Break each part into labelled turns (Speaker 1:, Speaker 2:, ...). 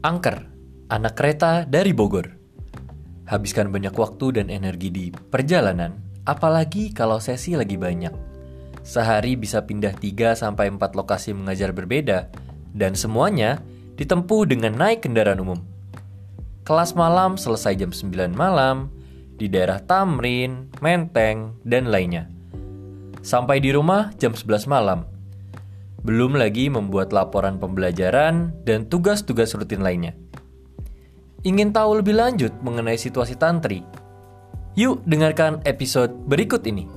Speaker 1: Angker, anak kereta dari Bogor. Habiskan banyak waktu dan energi di perjalanan, apalagi kalau sesi lagi banyak. Sehari bisa pindah 3 sampai 4 lokasi mengajar berbeda dan semuanya ditempuh dengan naik kendaraan umum. Kelas malam selesai jam 9 malam di daerah Tamrin, Menteng, dan lainnya. Sampai di rumah jam 11 malam belum lagi membuat laporan pembelajaran dan tugas-tugas rutin lainnya. Ingin tahu lebih lanjut mengenai situasi tantri? Yuk dengarkan episode berikut ini.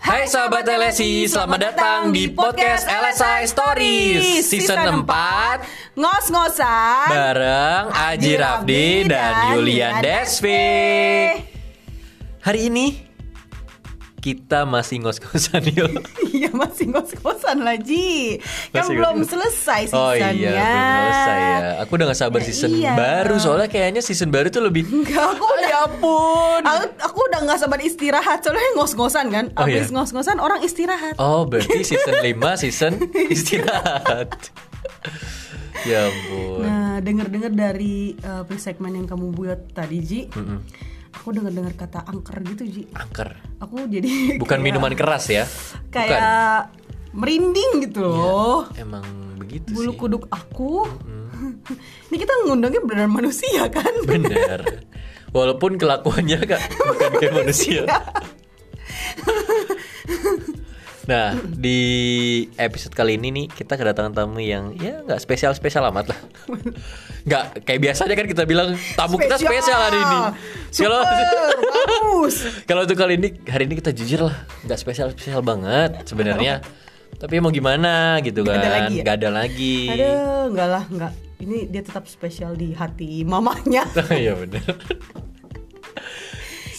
Speaker 1: Hai sahabat LSI, selamat datang di podcast LSI Stories Season 4
Speaker 2: ngos-ngosan
Speaker 1: bareng Aji Rafdi dan Yulian Desvi. Hari ini kita masih ngos-ngosan yuk.
Speaker 2: Iya masih ngos-ngosan lagi Kan
Speaker 1: Masih
Speaker 2: belum
Speaker 1: ngos-
Speaker 2: selesai
Speaker 1: Oh
Speaker 2: seasonnya
Speaker 1: iya, belum selesai ya. Aku udah gak sabar
Speaker 2: Ya,
Speaker 1: season
Speaker 2: iya.
Speaker 1: baru soalnya kayaknya season baru tuh lebih.
Speaker 2: Enggak, aku udah
Speaker 1: Ya ampun.
Speaker 2: Aku, aku udah gak sabar istirahat Soalnya ngos-ngosan kan
Speaker 1: Oh,
Speaker 2: Abis
Speaker 1: iya.
Speaker 2: ngos-ngosan orang istirahat
Speaker 1: Oh berarti season 5 season istirahat. ya ampun.
Speaker 2: Nah denger-denger dari uh, segmen yang kamu buat tadi Ji Aku denger-denger kata angker gitu Ji
Speaker 1: Angker.
Speaker 2: Aku jadi
Speaker 1: Bukan
Speaker 2: kayak-
Speaker 1: minuman keras ya. Bukan. Iya.
Speaker 2: Iya. Kayak merinding gitu loh
Speaker 1: Emang begitu
Speaker 2: bulu
Speaker 1: Gitu sih.
Speaker 2: kuduk aku. Ini kita ngundangnya beneran manusia kan?
Speaker 1: Bener. Walaupun kelakuannya kak bukan kayak
Speaker 2: Iya.
Speaker 1: manusia. Nah di episode kali ini nih kita kedatangan tamu yang ya nggak spesial spesial amat lah. Nggak kayak biasanya kan kita bilang tamu kita spesial hari ini. Kalau
Speaker 2: Super, bagus.
Speaker 1: kalau untuk kali ini hari ini kita jujur lah nggak spesial spesial banget sebenarnya. Tapi mau gimana gitu kan?
Speaker 2: Nggak ada lagi ya?
Speaker 1: Nggak ada lagi.
Speaker 2: Aduh, enggak lah, enggak. Ini dia tetap spesial di hati mamanya.
Speaker 1: Iya bener.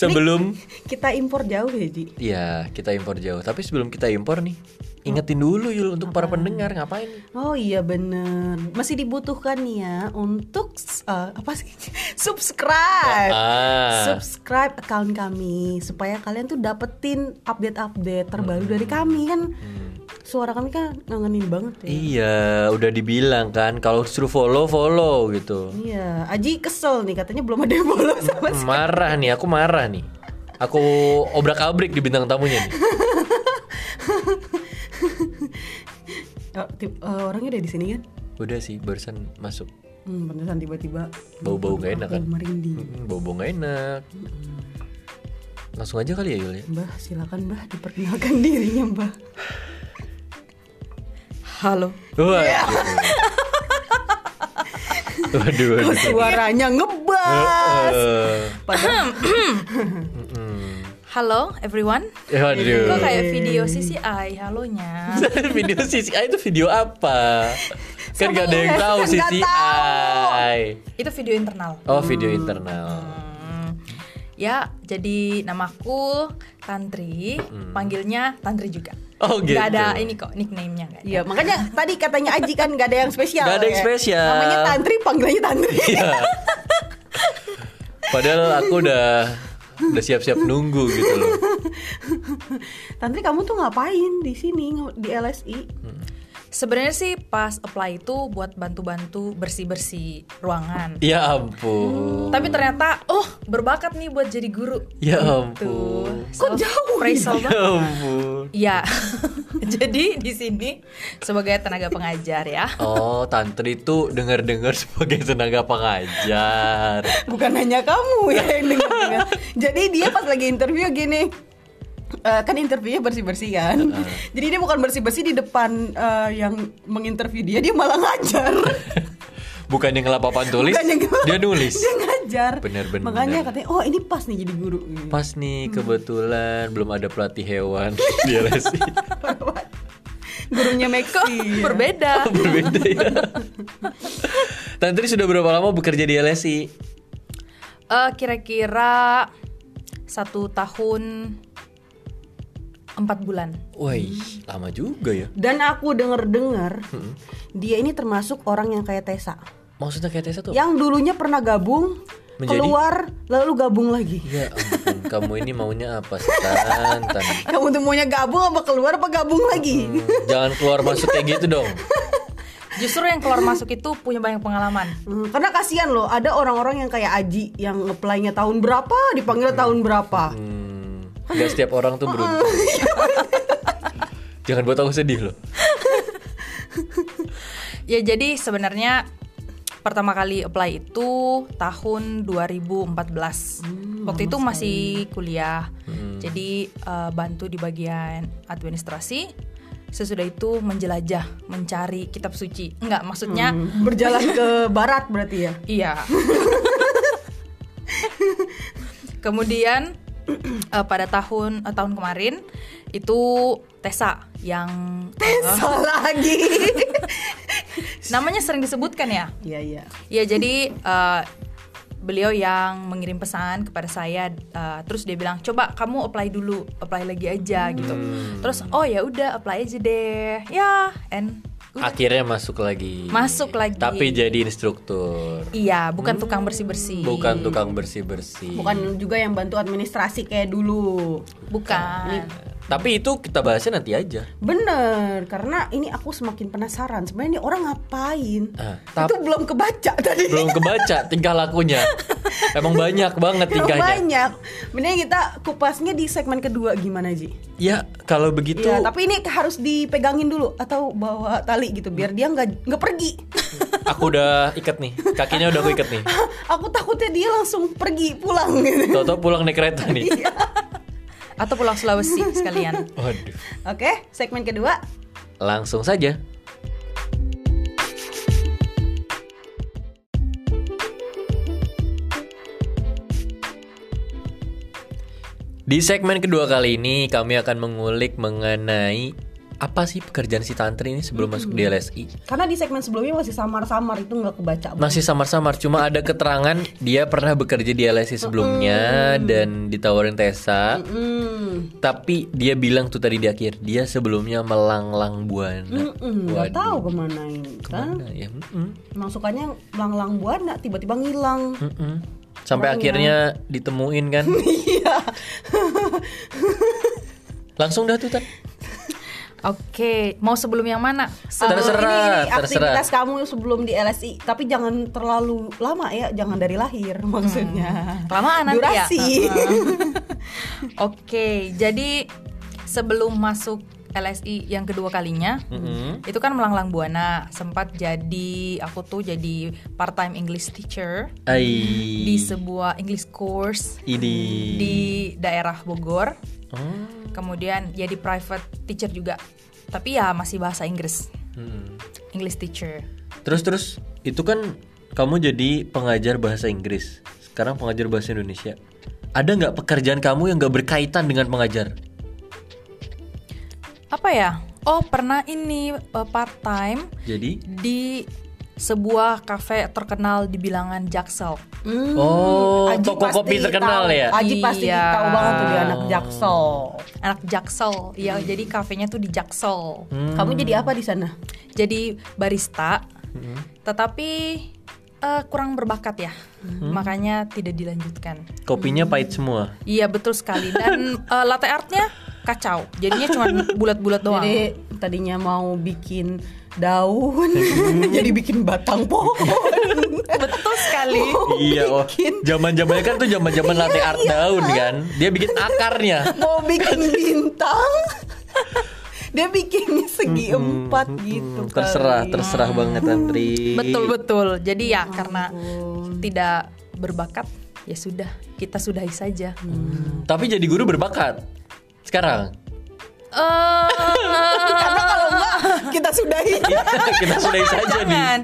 Speaker 1: Sebelum
Speaker 2: Kita impor jauh ya, Ji.
Speaker 1: Ya, kita impor jauh. Tapi sebelum kita impor nih, ingetin dulu Yul untuk para pendengar ngapain?
Speaker 2: Oh iya bener Masih dibutuhkan nih ya Untuk eh, Apa sih Subscribe
Speaker 1: Ah,
Speaker 2: Subscribe account kami Supaya kalian tuh dapetin Update-update terbaru dari
Speaker 1: Hmm.
Speaker 2: kami Kan Suara kami kan ngangenin banget ya
Speaker 1: iya, udah dibilang kan kalau suruh follow follow gitu.
Speaker 2: Iya, Aji kesel nih katanya belum ada yang follow sama si-
Speaker 1: Marah nih, aku marah nih. Aku obrak-abrik di bintang tamunya nih.
Speaker 2: Oh, ti- eh, orangnya udah di sini kan?
Speaker 1: Udah sih, barusan masuk.
Speaker 2: Hmm, beneran tiba-tiba
Speaker 1: Bau-bau nggak enak
Speaker 2: aku
Speaker 1: kan?
Speaker 2: Merinding.
Speaker 1: Hmm, Bau-bau nggak enak. Langsung aja kali ya Yul ya.
Speaker 2: Mbah, silakan Mbah diperkenalkan dirinya Mbah. Halo.
Speaker 1: Wah, gitu. Waduh, waduh.
Speaker 2: Suaranya ngebas.
Speaker 1: Eh,
Speaker 2: Padahal
Speaker 3: Halo everyone.
Speaker 1: eh, waduh.
Speaker 3: Kok kayak video CCI halonya.
Speaker 1: video CCI itu video apa? Kan
Speaker 2: Sama
Speaker 1: gak ada yang
Speaker 2: Inggris,
Speaker 1: tahu
Speaker 2: kan nggak
Speaker 1: CCI.
Speaker 3: Itu video internal.
Speaker 1: Oh, video internal.
Speaker 3: Hmm. Ya, jadi namaku Tantri, panggilnya Tantri juga.
Speaker 1: Oh, gitu.
Speaker 3: Gak ada ini kok nickname-nya gak ada.
Speaker 2: iya makanya tadi katanya Aji kan gak ada yang spesial.
Speaker 1: Nggak ada yang
Speaker 2: ya.
Speaker 1: spesial.
Speaker 2: Namanya Tantri, panggilannya Tantri.
Speaker 1: Iya. Padahal aku udah udah siap-siap nunggu gitu loh.
Speaker 2: Tantri kamu tuh ngapain di sini di LSI?
Speaker 3: Sebenarnya sih pas apply itu buat bantu-bantu bersih-bersih ruangan.
Speaker 1: Ya ampun.
Speaker 3: Tapi ternyata oh, berbakat nih buat jadi guru. Gitu.
Speaker 1: Ya
Speaker 3: Tuh.
Speaker 1: ampun.
Speaker 2: Kok jauh
Speaker 3: Appraisal
Speaker 1: Ya ampun.
Speaker 3: Ya, jadi di sini sebagai tenaga pengajar ya.
Speaker 1: Oh, tantri tuh dengar-dengar sebagai tenaga pengajar.
Speaker 2: bukan hanya kamu ya yang dengar dengar. jadi dia pas lagi interview gini eh, kan interviewnya bersih bersih kan jadi dia bukan bersih bersih di depan eh, yang menginterview dia dia malah ngajar
Speaker 1: Bukan yang lapapan tulis,
Speaker 2: Bukan yang-
Speaker 1: dia nulis.
Speaker 2: dia ngajar
Speaker 1: Bener-bener.
Speaker 2: makanya katanya oh ini pas nih jadi guru
Speaker 1: Pas nih kebetulan belum ada pelatih hewan di LSI.
Speaker 2: gurunya
Speaker 3: Kok
Speaker 2: Maxi
Speaker 3: berbeda?
Speaker 1: Berbeda ya. Tantri sudah berapa lama bekerja di LSI?
Speaker 3: Eh, kira-kira satu tahun empat bulan.
Speaker 1: Woi, lama juga ya.
Speaker 2: dan aku denger dengar dia ini termasuk orang yang kayak Tessa
Speaker 1: Maksudnya kayak Tessa tuh?
Speaker 2: yang dulunya pernah gabung
Speaker 1: Menjadi-
Speaker 2: keluar lalu gabung lagi.
Speaker 1: Ya ampun, kamu ini maunya apa sih? Tan, Tan?
Speaker 2: Kamu tuh maunya gabung apa keluar apa gabung lagi?
Speaker 1: Hmm, Jangan keluar masuk kayak gitu dong.
Speaker 3: Justru yang keluar masuk itu punya banyak pengalaman.
Speaker 2: Hmm, karena kasihan loh, ada orang-orang yang kayak Aji yang apply-nya tahun berapa, dipanggil tahun berapa.
Speaker 1: Hmm, gak setiap orang tuh beruntung. Jangan buat aku sedih loh.
Speaker 3: Ya jadi sebenarnya pertama kali apply itu tahun 2014. Waktu itu masih kuliah. Jadi eh, bantu di bagian administrasi. Sesudah itu menjelajah, mencari kitab suci. Enggak, maksudnya
Speaker 2: Hmm. Berjalan ke barat berarti ya.
Speaker 3: Iya. Kemudian eh, pada tahun eh, tahun kemarin itu Tessa yang
Speaker 2: Salah lagi.
Speaker 3: namanya sering disebutkan ya.
Speaker 2: Iya iya.
Speaker 3: Ya jadi eh, beliau yang mengirim pesan kepada saya eh, terus dia bilang coba kamu apply dulu apply lagi aja gitu terus oh ya udah apply aja deh ya and
Speaker 1: Akhirnya masuk lagi.
Speaker 3: Masuk lagi.
Speaker 1: Tapi jadi instruktur.
Speaker 3: iya bukan tukang bersih bersih
Speaker 1: Bukan tukang bersih-bersih.
Speaker 2: Bukan juga yang bantu administrasi kayak dulu.
Speaker 3: bukan
Speaker 1: Tapi itu kita bahasnya nanti aja.
Speaker 2: Bener, karena ini aku semakin penasaran. Sebenarnya ini orang ngapain?
Speaker 1: Ah,
Speaker 2: Itu
Speaker 1: tapi
Speaker 2: belum kebaca tadi.
Speaker 1: belum kebaca tingkah lakunya. Emang banyak banget
Speaker 2: Yang
Speaker 1: tingkahnya.
Speaker 2: banyak. Mending kita kupasnya di segmen kedua gimana Ji?
Speaker 1: Ya kalau begitu.
Speaker 2: Iya, tapi ini harus dipegangin dulu atau bawa tali gitu
Speaker 1: Hmm.
Speaker 2: biar dia nggak nggak pergi.
Speaker 1: Aku udah ikat nih, kakinya udah aku ikat nih.
Speaker 2: aku takutnya dia langsung pergi pulang gitu.
Speaker 1: Toto pulang naik kereta nih.
Speaker 3: atau pulang Sulawesi sekalian
Speaker 1: Waduh.
Speaker 2: Oke, segmen kedua.
Speaker 1: Langsung saja. Di segmen kedua kali ini kami akan mengulik mengenai apa sih pekerjaan si tantri ini
Speaker 2: Hmm.
Speaker 1: sebelum masuk di LSI.
Speaker 2: Karena di segmen sebelumnya masih samar-samar itu nggak kebaca.
Speaker 1: Masih samar-samar, cuma ada keterangan dia pernah bekerja di LSI sebelumnya dan ditawarin Tessa.
Speaker 2: Hmm,
Speaker 1: Tapi dia bilang tuh tadi di akhir dia sebelumnya melanglang buana.
Speaker 2: hmm, nggak tahu kemana ini kan?
Speaker 1: Nah, ya, mm-mm.
Speaker 2: Masukannya lang-lang buana tiba-tiba ngilang.
Speaker 1: Mm-mm. Sampai akhirnya ditemuin kan.
Speaker 2: Iya.
Speaker 1: Langsung dah tuh Tan.
Speaker 3: Oke, mau sebelum yang mana? Se-
Speaker 2: Ini-
Speaker 1: Terserah,
Speaker 2: ini
Speaker 1: terserah.
Speaker 2: aktivitas kamu sebelum di LSI, tapi jangan terlalu lama ya, jangan dari lahir maksudnya.
Speaker 3: Kelamaan nanti ya.
Speaker 2: Durasi. Hmm.
Speaker 3: Oke, jadi sebelum masuk LSI yang kedua kalinya,
Speaker 1: Mm-mm.
Speaker 3: itu kan melanglang buana. Sempat jadi aku tuh jadi part time English teacher
Speaker 1: Ai.
Speaker 3: di sebuah English course
Speaker 1: Ini.
Speaker 3: di daerah Bogor.
Speaker 1: Oh.
Speaker 3: Kemudian jadi private teacher juga. Tapi ya masih bahasa Inggris,
Speaker 1: Mm-mm.
Speaker 3: English teacher.
Speaker 1: Mm. Terus terus itu kan kamu jadi pengajar bahasa Inggris. Sekarang pengajar bahasa Indonesia. Ada nggak pekerjaan kamu yang nggak berkaitan dengan pengajar?
Speaker 3: Apa ya? Oh, pernah ini eh, part time
Speaker 1: Jadi
Speaker 3: di sebuah kafe terkenal di bilangan Jaksel.
Speaker 2: Hmm,
Speaker 1: Oh,
Speaker 2: Aji
Speaker 1: toko
Speaker 2: pasti
Speaker 1: kopi terkenal
Speaker 2: tahu.
Speaker 1: ya?
Speaker 2: Aji pasti
Speaker 3: Iya.
Speaker 2: tahu banget tuh dia anak Jaksel.
Speaker 3: Anak Jaksel. Iya, jadi kafenya tuh di Jaksel.
Speaker 1: Hmm.
Speaker 2: Kamu jadi apa di sana?
Speaker 3: Jadi barista. Tetapi eh, kurang berbakat ya. Makanya tidak dilanjutkan.
Speaker 1: kopinya pahit semua.
Speaker 3: Iya, betul sekali. Dan eh, latte artnya kacau. Jadinya cuma bulat-bulat doang.
Speaker 2: Jadi tadinya mau bikin daun, jadi bikin batang pohon.
Speaker 3: betul sekali.
Speaker 1: iya, oh.
Speaker 2: bikin.
Speaker 1: Zaman-zamannya kan tuh zaman-zaman latte art daun kan. Dia bikin akarnya.
Speaker 2: mau bikin bintang. Dia bikinnya segi empat gitu.
Speaker 1: terserah,
Speaker 2: kali.
Speaker 1: terserah banget Antri.
Speaker 3: Betul betul. Jadi ya karena tidak berbakat ya sudah kita sudahi saja.
Speaker 1: Tapi jadi guru berbakat. Sekarang
Speaker 3: Eh,
Speaker 2: Karena kalau enggak kita sudahi.
Speaker 1: kita sudahi saja nih.
Speaker 3: jangan.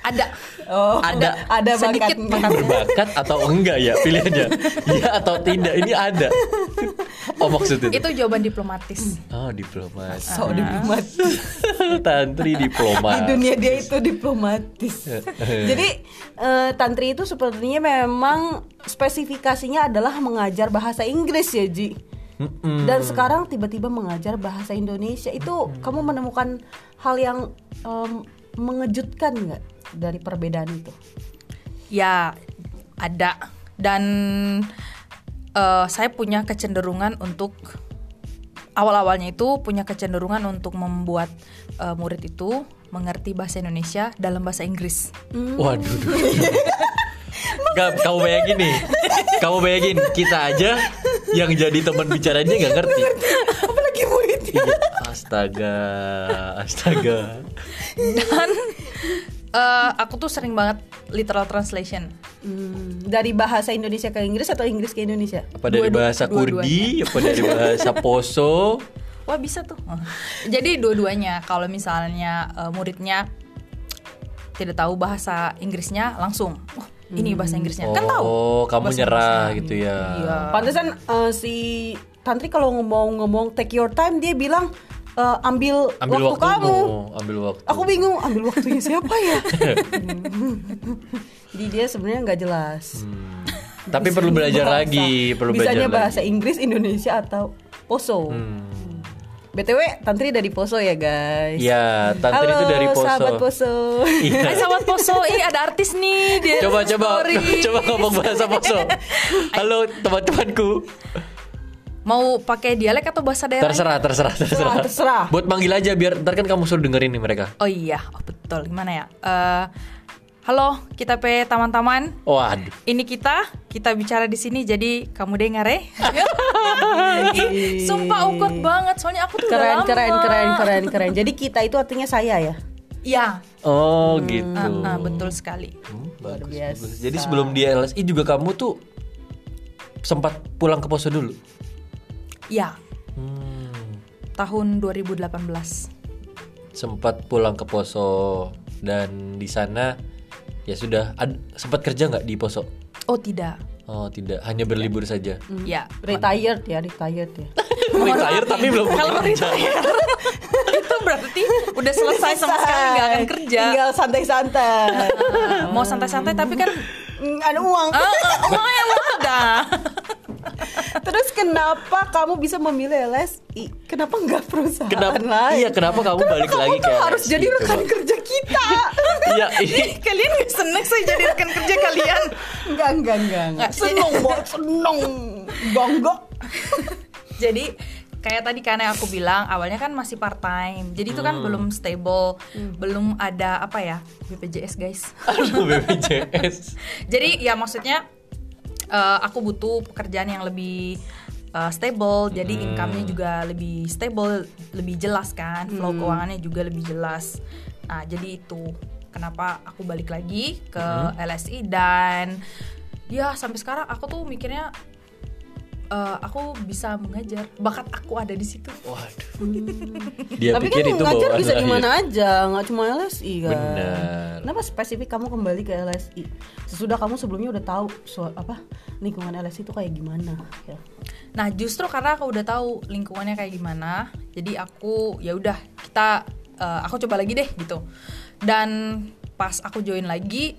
Speaker 3: Ada
Speaker 2: Oh,
Speaker 1: Ada.
Speaker 2: ada
Speaker 3: Sedikit
Speaker 2: bakatnya.
Speaker 3: bakat.
Speaker 1: Berbakat atau enggak ya pilihannya? Iya atau tidak ini ada. Oh maksudnya itu.
Speaker 3: itu jawaban diplomatis.
Speaker 1: Oh diplomat.
Speaker 2: So diplomatis.
Speaker 1: Tantri
Speaker 2: Di
Speaker 1: diplomat.
Speaker 2: dunia dia itu diplomatis. Jadi eh, tantri itu sepertinya memang spesifikasinya adalah mengajar bahasa Inggris ya Ji.
Speaker 1: Mm-mm.
Speaker 2: Dan sekarang tiba-tiba mengajar bahasa Indonesia itu kamu menemukan hal yang em, mengejutkan nggak dari perbedaan itu?
Speaker 3: Ya ada dan eh, saya punya kecenderungan untuk awal-awalnya itu punya kecenderungan untuk membuat eh, murid itu mengerti bahasa Indonesia dalam bahasa Inggris.
Speaker 1: Waduh. Gak, kamu bayangin nih Kamu bayangin Kita aja Yang jadi teman bicaranya gak ngerti
Speaker 2: apalagi muridnya
Speaker 1: Iya, Astaga Astaga
Speaker 3: Dan eh, aku tuh sering banget literal translation.
Speaker 2: Hmm, dari bahasa Indonesia ke Inggris atau Inggris ke Indonesia
Speaker 1: Apa dari
Speaker 3: Dua-dua-
Speaker 1: bahasa Kurdi Apa dari bahasa Poso
Speaker 3: Wah bisa tuh. Oh. Jadi dua-duanya kalau misalnya eh, muridnya tidak tahu bahasa Inggrisnya langsung, oh, ini bahasa Inggrisnya kan tahu.
Speaker 1: Oh kamu
Speaker 3: Bahasa
Speaker 1: nyerah
Speaker 3: Inggrisnya.
Speaker 1: gitu ya
Speaker 3: Iya.
Speaker 2: Pantesan eh, si Tantri kalau ngomong-ngomong take your time dia bilang eh, ambil,
Speaker 1: Ambil
Speaker 2: waktu, kamu.
Speaker 1: waktumu Ambil waktu
Speaker 2: Aku bingung ambil waktunya siapa ya? Jadi dia sebenarnya nggak jelas.
Speaker 1: Hmm. Tapi perlu belajar
Speaker 2: Bahasa.
Speaker 1: lagi Perlu
Speaker 2: Bisanya
Speaker 1: belajar
Speaker 2: bahasa
Speaker 1: lagi
Speaker 2: Inggris, Indonesia atau Poso.
Speaker 1: Hmm.
Speaker 2: BTW Tantri dari Poso ya guys.
Speaker 1: Iya Tantri
Speaker 2: Halo,
Speaker 1: itu dari Poso
Speaker 2: sahabat Poso. Eh,
Speaker 1: Iya.
Speaker 3: Hai sahabat Poso, ih ada artis nih dia.
Speaker 1: Coba coba
Speaker 3: story.
Speaker 1: coba ngomong bahasa Poso. Halo teman-temanku.
Speaker 3: Mau pakai dialek atau bahasa daerah?
Speaker 1: Terserah, terserah, terserah.
Speaker 2: Terserah, terserah.
Speaker 1: Buat manggil aja biar ntar kan kamu suruh dengerin nih mereka.
Speaker 3: Oh iya, oh, betul. Gimana ya? Eh, halo, kita pe taman-taman.
Speaker 1: Waduh.
Speaker 3: Ini kita, kita bicara di sini jadi kamu dengar eh. Ih, Sumpah ukut banget, soalnya aku tuh udah
Speaker 2: Keren,
Speaker 3: lama.
Speaker 2: keren, keren, keren, keren. Jadi kita itu artinya saya ya.
Speaker 3: Iya,
Speaker 2: Hmm,
Speaker 1: Oh, gitu.
Speaker 3: ah, ah, betul sekali.
Speaker 1: Hmm, bagus,
Speaker 2: biasa.
Speaker 1: bagus. Jadi sebelum di LSI juga kamu tuh sempat pulang ke Poso dulu.
Speaker 3: Iya,
Speaker 1: Hmm.
Speaker 3: tahun 2018.
Speaker 1: Sempat pulang ke Poso dan di sana ya sudah ad- sempat kerja nggak di Poso?
Speaker 3: Oh tidak,
Speaker 1: Oh, tidak, hanya berlibur saja.
Speaker 2: Hmm.
Speaker 3: ya.
Speaker 2: Retired ya, retired ya.
Speaker 1: Retire tapi belum
Speaker 3: Kalau
Speaker 1: kerja.
Speaker 3: retire itu berarti udah ya. selesai Iya. sama sekali nggak akan kerja.
Speaker 2: Tinggal santai-santai.
Speaker 3: Ah, mau santai-santai tapi kan
Speaker 2: Mm, ada uang.
Speaker 3: ah, ah, uang yang ada.
Speaker 2: Terus kenapa kamu bisa memilih LSI? Kenapa nggak perusahaan
Speaker 1: Kenapa?
Speaker 2: lain?
Speaker 1: Iya, kenapa kamu balik lagi ke
Speaker 2: Kamu
Speaker 1: gitu
Speaker 2: tuh harus
Speaker 1: LSI?
Speaker 2: jadi
Speaker 1: Coba.
Speaker 2: rekan kerja kita.
Speaker 1: Iya, iya.
Speaker 3: Ih, kalian gak seneng saya jadi rekan kerja kalian.
Speaker 2: enggak, enggak, enggak. enggak.
Speaker 3: Nggak,
Speaker 2: Seneng, Bo. Seneng. Bangga.
Speaker 3: Jadi kayak tadi karena aku bilang awalnya kan masih part time. Jadi itu kan belum stable, belum ada apa ya BPJS guys.
Speaker 1: Aduh BPJS.
Speaker 3: Jadi ya maksudnya eh, aku butuh pekerjaan yang lebih eh, stable, jadi income-nya juga lebih stable, lebih jelas kan, flow keuangannya juga lebih jelas. Nah, jadi itu kenapa aku balik lagi ke LSI dan ya sampai sekarang aku tuh mikirnya eh, aku bisa mengajar, bakat aku ada di situ.
Speaker 1: Waduh. Dia
Speaker 2: Tapi
Speaker 1: Ya, pikir
Speaker 2: kan
Speaker 1: itu
Speaker 2: ngajar
Speaker 1: bawaan
Speaker 2: bisa
Speaker 1: lahir.
Speaker 2: di mana aja, nggak cuma LSI kan.
Speaker 1: Benar.
Speaker 2: Kenapa spesifik kamu kembali ke LSI? Sesudah kamu sebelumnya udah tahu soal apa lingkungan LSI itu kayak gimana? Ya.
Speaker 3: Nah, justru karena aku udah tahu lingkungannya kayak gimana, jadi aku ya udah kita eh, aku coba lagi deh gitu. Dan pas aku join lagi,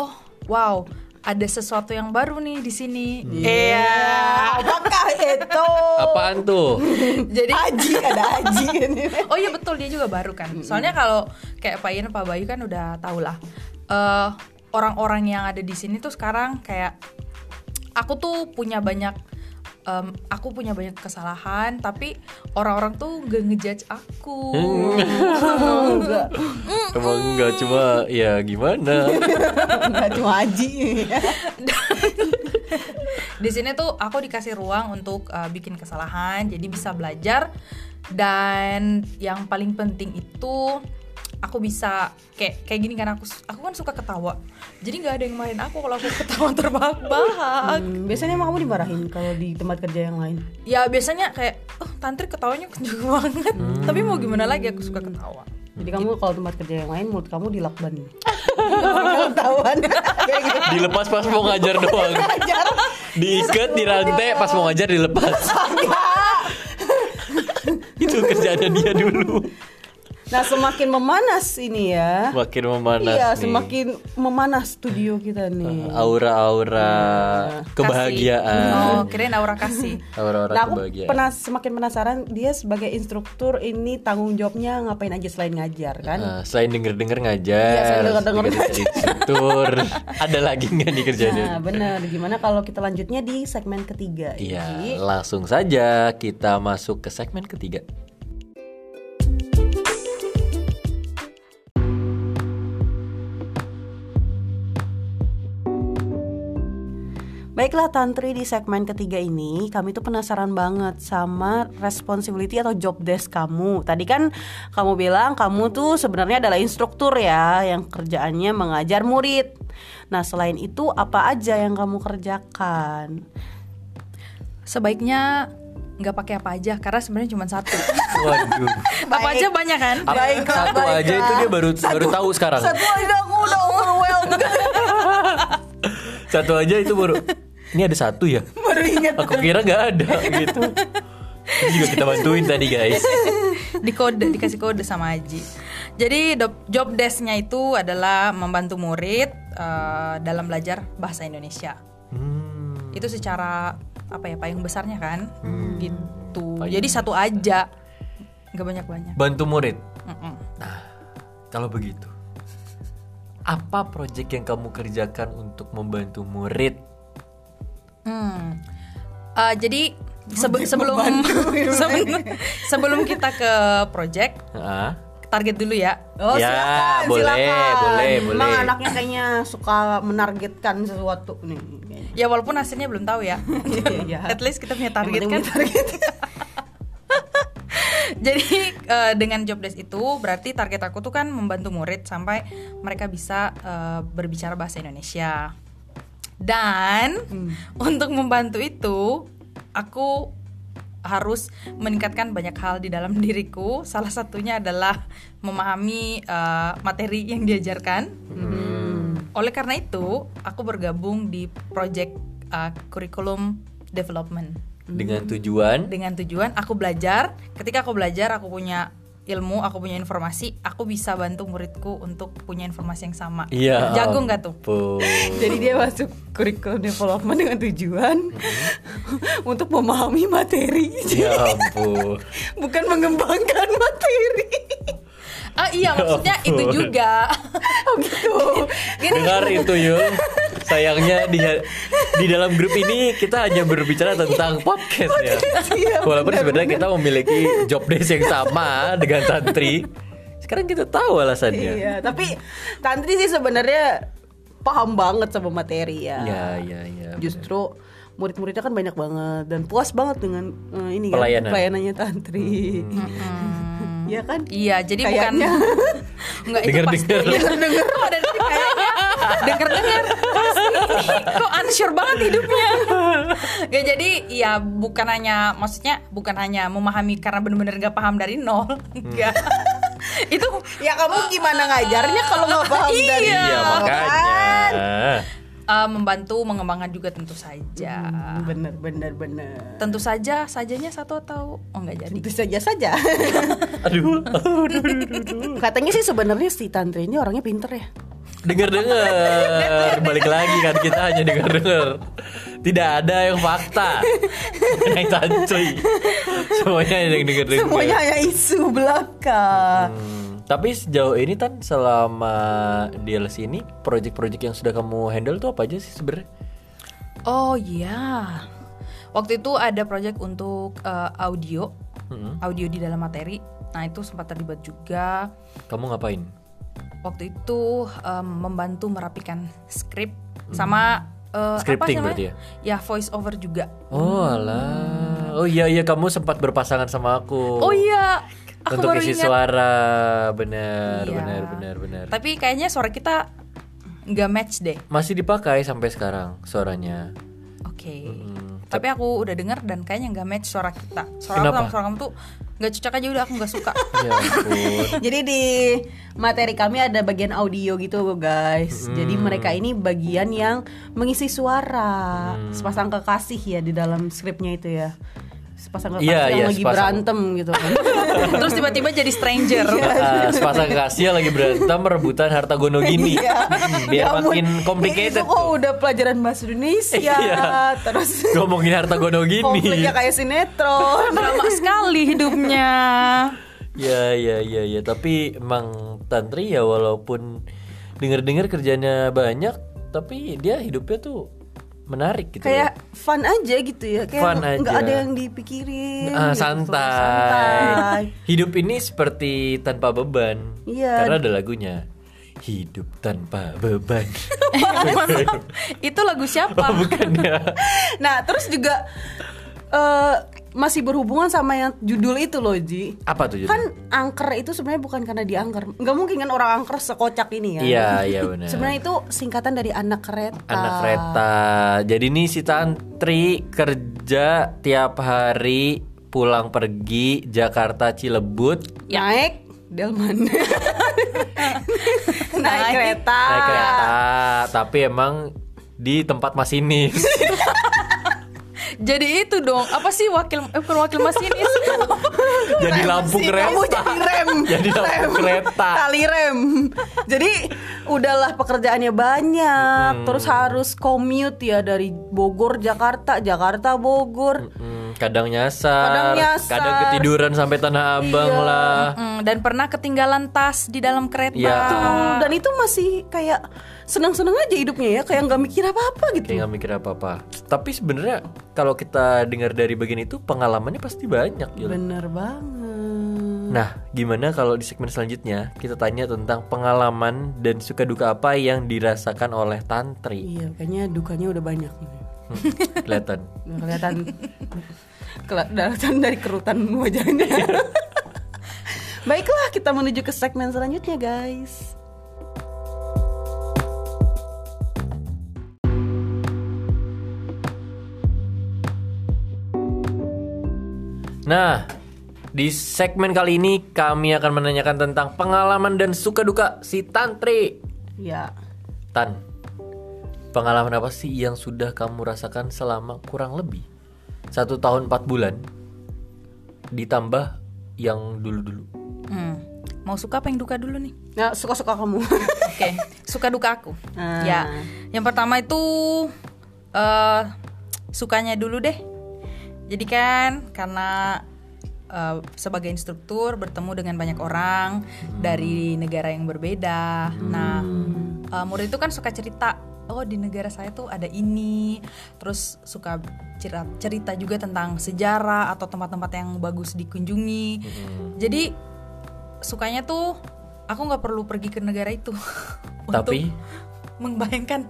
Speaker 3: oh wow, ada sesuatu yang baru nih di sini. Iya.
Speaker 1: Ah.
Speaker 2: Apakah itu?
Speaker 1: Apaan tuh?
Speaker 3: Jadi
Speaker 2: Aji ada Aji ini.
Speaker 3: Oh iya betul dia juga baru kan. Soalnya kalau kayak Pak Ian, Pak Bayu kan udah tau lah. Eh, Orang-orang yang ada di sini tuh sekarang kayak aku tuh punya banyak, em, aku punya banyak kesalahan, tapi orang-orang tuh gak ngejudge aku.
Speaker 2: Enggak,
Speaker 1: Emang nggak cuma ya gimana?
Speaker 2: enggak cuma Aji.
Speaker 3: di sini tuh aku dikasih ruang untuk eh, bikin kesalahan, jadi bisa belajar dan yang paling penting itu aku bisa kayak kayak gini kan aku aku kan suka ketawa jadi nggak ada yang marahin aku kalau aku ketawa terbahak-bahak
Speaker 2: Hmm, biasanya emang kamu dimarahin kalau di tempat kerja yang lain.
Speaker 3: ya biasanya kayak oh tantri ketawanya kenceng banget
Speaker 1: Hmm.
Speaker 3: tapi mau gimana lagi aku suka ketawa
Speaker 2: Jadi kamu kalau tempat kerja yang lain mulut kamu dilakban. Ketahuan. Kayak gitu.
Speaker 1: Dilepas pas mau ngajar doang.
Speaker 2: Ajar.
Speaker 1: Diikat, dirantai, pas mau ngajar dilepas. itu kerjaannya dia dulu.
Speaker 2: Nah semakin memanas ini ya.
Speaker 1: Makin memanas
Speaker 2: iya
Speaker 1: nih.
Speaker 2: semakin memanas studio kita nih. Iya,
Speaker 1: aura-aura
Speaker 3: Kasih. Oh,
Speaker 1: kebahagiaan.
Speaker 3: kirain aura kasih.
Speaker 1: Aura-aura
Speaker 2: Nah aku
Speaker 1: kebahagiaan.
Speaker 2: penas semakin penasaran dia sebagai instruktur ini tanggung jawabnya ngapain aja selain ngajar kan?
Speaker 1: Eh, selain denger-denger
Speaker 2: Iya,
Speaker 1: ngajar,
Speaker 2: selain denger-denger
Speaker 1: juga jadi instruktur, ada lagi nggak nih kerjanya?
Speaker 2: Nah bener gimana kalau kita lanjutnya di segmen ketiga
Speaker 1: Iya,
Speaker 2: Ji?
Speaker 1: langsung saja kita masuk ke segmen ketiga.
Speaker 2: Baiklah Tantri di segmen ketiga ini kami tuh penasaran banget sama responsibility atau job desk kamu. Tadi kan kamu bilang kamu tuh sebenarnya adalah instruktur ya yang kerjaannya mengajar murid. Nah selain itu apa aja yang kamu kerjakan?
Speaker 3: Sebaiknya nggak pakai apa aja karena sebenarnya cuma satu.
Speaker 1: Waduh,
Speaker 3: apa aja banyak kan?
Speaker 1: Apa- satu aja itu dia baru baru tahu sekarang. Satu.
Speaker 2: aja aku udah overwhelmed
Speaker 1: aja itu baru. Ini ada satu ya.
Speaker 2: baru ingat.
Speaker 1: Aku kira nggak ada gitu. Ini juga kita bantuin tadi guys.
Speaker 3: di kode dikasih kode sama Aji. Jadi do- job desk-nya itu adalah membantu murid eh, dalam belajar bahasa Indonesia.
Speaker 1: Hmm,
Speaker 3: Itu secara apa ya payung besarnya kan?
Speaker 2: Hmm.
Speaker 3: Gitu. Jadi satu aja. Nggak banyak-banyak.
Speaker 1: bantu murid.
Speaker 3: Mm-mm.
Speaker 1: Kalau begitu, apa proyek yang kamu kerjakan untuk membantu murid?
Speaker 3: Hmm. Eh, jadi sebe- sebelum sebelum- sebelum kita ke project
Speaker 1: Hah?
Speaker 3: target dulu ya.
Speaker 2: Oh,
Speaker 1: Ya,
Speaker 2: silakan,
Speaker 1: boleh,
Speaker 2: silakan.
Speaker 1: boleh,
Speaker 2: Emang
Speaker 1: boleh.
Speaker 2: anaknya kayaknya suka menargetkan sesuatu nih. kayaknya.
Speaker 3: Ya walaupun hasilnya belum tahu ya.
Speaker 2: Iya.
Speaker 3: At least kita punya
Speaker 2: Yang
Speaker 3: target
Speaker 2: penting
Speaker 3: kan.
Speaker 2: punya target.
Speaker 3: Jadi eh, dengan job desk itu berarti target aku tuh kan membantu murid sampai mereka bisa eh, berbicara bahasa Indonesia. Dan untuk membantu itu aku harus meningkatkan banyak hal di dalam diriku. Salah satunya adalah memahami eh, materi yang diajarkan. Oleh karena itu, aku bergabung di project eh, curriculum development
Speaker 1: Dengan tujuan
Speaker 3: dengan tujuan aku belajar ketika aku belajar aku punya ilmu aku punya informasi aku bisa bantu muridku untuk punya informasi yang sama
Speaker 1: Iya.
Speaker 3: jago nggak tuh
Speaker 1: ampun.
Speaker 2: Jadi dia masuk curriculum development dengan tujuan untuk memahami materi,
Speaker 1: Ya ampun.
Speaker 2: bukan mengembangkan materi.
Speaker 1: Ya
Speaker 3: ah iya maksudnya itu juga
Speaker 2: Oh gitu.
Speaker 1: Dengar itu yuk. Sayangnya di di dalam grup ini kita hanya berbicara tentang podcast ya.
Speaker 2: Iya,
Speaker 1: Walaupun
Speaker 2: benar,
Speaker 1: sebenarnya
Speaker 2: benar.
Speaker 1: kita memiliki job desk yang sama dengan santri. Sekarang kita tahu alasannya.
Speaker 2: Iya, tapi Tantri sih sebenarnya paham banget sama materi ya.
Speaker 1: Iya, iya, iya.
Speaker 2: Justru murid-muridnya kan banyak banget dan puas banget dengan eh, ini kan,
Speaker 1: Pelayanan.
Speaker 2: pelayanannya Tantri. Iya kan?
Speaker 3: iya jadi
Speaker 2: Kayaknya.
Speaker 3: bukan nggak itu pasti
Speaker 1: Dengar-dengar.
Speaker 3: denger ada dari kayaknya denger denger pasti kok unsure banget hidupnya ya jadi ya bukan hanya maksudnya bukan hanya memahami karena bener-bener nggak paham dari nol enggak
Speaker 1: Hmm.
Speaker 3: itu
Speaker 2: Ya kamu gimana ngajarnya kalau nggak paham dari
Speaker 3: Iya,
Speaker 1: Iya, makanya.
Speaker 2: kan?
Speaker 3: eh, membantu mengembangkan juga tentu saja
Speaker 2: Bener, bener, bener.
Speaker 3: Tentu saja, sajanya satu atau oh nggak jadi.
Speaker 2: Tentu saja saja.
Speaker 1: Aduh.
Speaker 2: Katanya sih sebenarnya si Tantri ini orangnya pinter ya.
Speaker 1: Dengar-dengar, balik lagi kan kita hanya dengar-dengar. Tidak ada yang fakta. yang santuy. Semuanya yang dengar-dengar.
Speaker 2: Semuanya hanya isu belaka.
Speaker 1: Hmm, tapi sejauh ini tan selama DLC ini project-project yang sudah kamu handle tuh apa aja sih sebenarnya?
Speaker 3: Oh iya. Waktu itu ada project untuk eh, audio,
Speaker 1: Mm-mm.
Speaker 3: audio di dalam materi. Nah itu sempat terlibat juga.
Speaker 1: Kamu ngapain?
Speaker 3: Waktu itu em, membantu merapikan skrip sama eh,
Speaker 1: Hmm. Scripting
Speaker 3: apa
Speaker 1: berarti
Speaker 3: namanya? Ya voice over juga.
Speaker 1: Oh alah. Oh iya iya kamu sempat berpasangan sama aku.
Speaker 3: Oh iya. Aku
Speaker 1: Untuk
Speaker 3: baru
Speaker 1: isi
Speaker 3: ingat.
Speaker 1: suara benar
Speaker 3: Iya.
Speaker 1: benar benar benar.
Speaker 3: Tapi kayaknya suara kita nggak match deh.
Speaker 1: Masih dipakai sampai sekarang suaranya.
Speaker 3: Oke.
Speaker 1: Mm-mm.
Speaker 3: Tapi aku udah dengar dan kayaknya nggak match suara kita. Suara
Speaker 1: Kenapa?
Speaker 3: aku sama suara kamu tuh nggak cocok aja udah aku nggak suka.
Speaker 1: Ya ampun.
Speaker 2: Jadi di materi kami ada bagian audio gitu guys.
Speaker 1: Hmm.
Speaker 2: Jadi mereka ini bagian
Speaker 1: Hmm.
Speaker 2: yang mengisi suara. Sepasang kekasih ya di dalam skripnya itu ya. sepasang kekasih
Speaker 1: Iya,
Speaker 2: yang
Speaker 1: iya,
Speaker 2: lagi
Speaker 1: sepasang.
Speaker 2: berantem gitu kan.
Speaker 3: Terus tiba-tiba jadi stranger. iya.
Speaker 1: Ah, sepasang kekasih lagi berantem rebutan harta gono gini
Speaker 3: Iya.
Speaker 1: Hmm, biar
Speaker 2: Ya ampun,
Speaker 1: makin complicated
Speaker 2: Itu kok
Speaker 1: tuh.
Speaker 2: udah pelajaran bahasa Indonesia
Speaker 1: Iya.
Speaker 2: terus
Speaker 1: ngomongin harta gono gini
Speaker 2: konfliknya kayak sinetron.
Speaker 3: Drama sekali hidupnya.
Speaker 1: ya ya ya ya tapi emang tantri ya walaupun denger-denger kerjanya banyak tapi dia hidupnya tuh menarik gitu
Speaker 2: kayak
Speaker 1: ya.
Speaker 2: fun aja gitu ya
Speaker 1: Fun
Speaker 2: kayak nggak
Speaker 1: aja.
Speaker 2: ada yang dipikirin
Speaker 1: Ah,
Speaker 2: gitu.
Speaker 1: santai.
Speaker 2: santai
Speaker 1: hidup ini seperti tanpa beban
Speaker 2: Iya.
Speaker 1: karena ada lagunya hidup tanpa beban
Speaker 3: Itu lagu siapa?
Speaker 1: bukan ya
Speaker 2: nah terus juga eh, masih berhubungan sama yang judul itu loh Ji
Speaker 1: apa tuh judul?
Speaker 2: kan angker itu sebenarnya bukan karena dia angker nggak mungkin kan orang angker sekocak ini ya
Speaker 1: iya iya benar
Speaker 2: sebenarnya itu singkatan dari anak kereta
Speaker 1: anak kereta. Jadi nih si Tantri kerja tiap hari pulang pergi Jakarta Cilebut
Speaker 2: naik delman naik,
Speaker 3: Naik.
Speaker 2: kereta
Speaker 1: naik kereta, tapi emang di tempat masinis.
Speaker 3: Jadi itu dong. Apa sih wakil eh, bukan wakil masinis?
Speaker 1: jadi lampu
Speaker 2: Si kamu
Speaker 1: kereta.
Speaker 2: jadi rem
Speaker 1: Jadi lampu kereta.
Speaker 2: tali rem jadi udahlah pekerjaannya
Speaker 1: Hmm.
Speaker 2: banyak terus harus commute ya dari Bogor Jakarta Jakarta Bogor
Speaker 1: Hmm, kadang nyasar,
Speaker 2: Kadang nyasar.
Speaker 1: kadang ketiduran sampai Tanah Abang
Speaker 2: Iya.
Speaker 1: lah.
Speaker 3: Mm, dan pernah ketinggalan tas di dalam kereta.
Speaker 1: Iya.
Speaker 2: Tuh, dan itu masih kayak senang-senang aja hidupnya ya kayak nggak mikir apa-apa
Speaker 1: Kayak
Speaker 2: gitu
Speaker 1: nggak mikir apa-apa. Tapi sebenarnya kalau kita dengar dari bagian itu pengalamannya pasti banyak ya.
Speaker 2: bener banget
Speaker 1: Nah, gimana kalau di segmen selanjutnya kita tanya tentang pengalaman dan suka duka apa yang dirasakan oleh tantri?
Speaker 2: iya kayaknya dukanya udah banyak
Speaker 1: Hmm, Kelihatan.
Speaker 2: Udah kelihatan kelihatan dari kerutan wajahnya baiklah kita menuju ke segmen selanjutnya guys
Speaker 1: Nah, di segmen kali ini kami akan menanyakan tentang pengalaman dan suka duka si tantri.
Speaker 2: Ya,
Speaker 1: Tan, pengalaman apa sih yang sudah kamu rasakan selama kurang lebih satu tahun empat bulan ditambah yang dulu-dulu?
Speaker 3: Hmm. Mau suka apa yang duka dulu nih?
Speaker 2: nah suka-suka kamu.
Speaker 1: Nah.
Speaker 3: Oke, suka duka aku.
Speaker 2: Ah.
Speaker 3: Ya, yang pertama itu eh sukanya dulu deh. Jadi kan karena eh, sebagai instruktur bertemu dengan banyak orang dari negara yang berbeda. Nah, eh, murid itu kan suka cerita. Oh di negara saya tuh ada ini, terus suka cerita, cerita juga tentang sejarah atau tempat-tempat yang bagus dikunjungi.
Speaker 1: Hmm.
Speaker 3: Jadi sukanya tuh aku nggak perlu pergi ke negara itu untuk
Speaker 1: Tapi
Speaker 3: membayangkan.